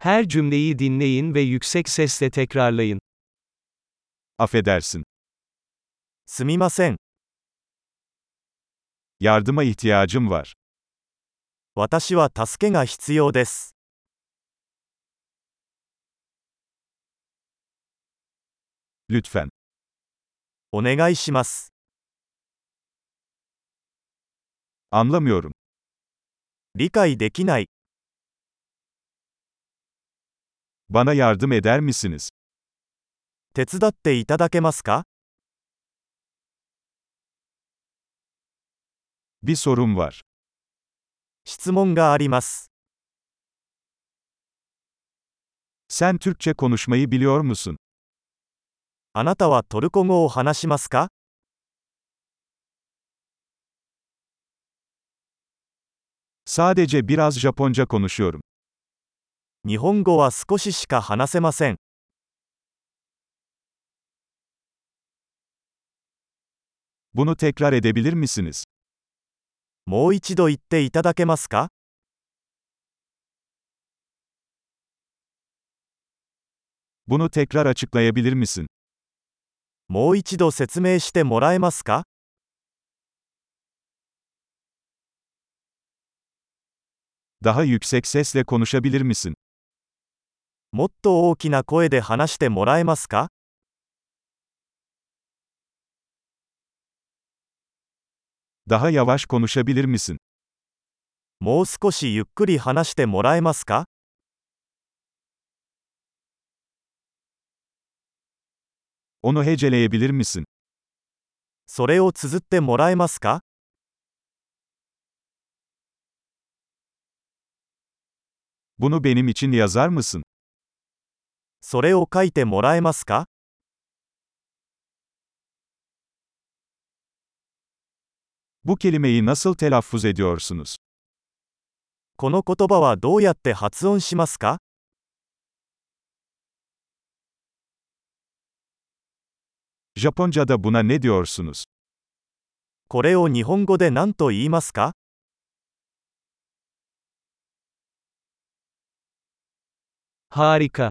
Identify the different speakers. Speaker 1: Her cümleyi dinleyin ve yüksek sesle tekrarlayın.
Speaker 2: affedersin.
Speaker 3: すみません。
Speaker 2: Yardıma ihtiyacım var.
Speaker 3: 私は助けが必要です。
Speaker 2: Lütfen.
Speaker 3: お願いします。
Speaker 2: Anlamıyorum.
Speaker 3: 理解できない。
Speaker 2: Bana yardım eder misiniz?
Speaker 3: 手伝っていただけますか
Speaker 2: Bir sorum var.
Speaker 3: 質問があります。
Speaker 2: Sen Türkçe konuşmayı biliyor musun?
Speaker 3: あなたはトルコ語を話しますか
Speaker 2: Sadece biraz Japonca konuşuyorum.
Speaker 3: 日本語は少ししか話せません。
Speaker 2: Bunu tekrar edebilir misiniz?
Speaker 3: もう一度言っていただけますか
Speaker 2: Bunu tekrar açıklayabilir misin?
Speaker 3: もう一度説明してもらえますか
Speaker 2: Daha yüksek sesle konuşabilir misin?
Speaker 3: もっと大きな声で話してもらえますか
Speaker 2: Daha yavaş konuşabilir misin?
Speaker 3: もう少しゆっくり話してもらえますか
Speaker 2: Onu heceleyebilir misin?
Speaker 3: それを綴ってもらえますか
Speaker 2: Bunu benim için yazar mısın?
Speaker 3: それを書いてもらえますか
Speaker 2: Bu kelimeyi nasıl telaffuz ediyorsunuz?
Speaker 3: この言葉はどうやって発音しますか
Speaker 2: Japonca'da buna ne diyorsunuz?
Speaker 3: これを日本語で何と言いますか
Speaker 1: Harika.